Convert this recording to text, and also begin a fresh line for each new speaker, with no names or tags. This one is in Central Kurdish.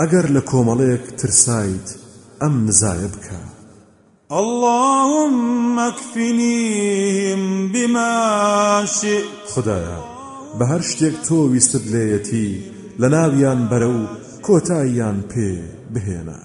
ئەگەر لە کۆمەڵەیەک ترسایت ئەم نزایە بکە
اللهم اكفنيهم بما شئت
خدایە بە هەر شتێک تۆ ویستت لێیەتی لە ناویان بەرە و کۆتاییان پێ بهێنە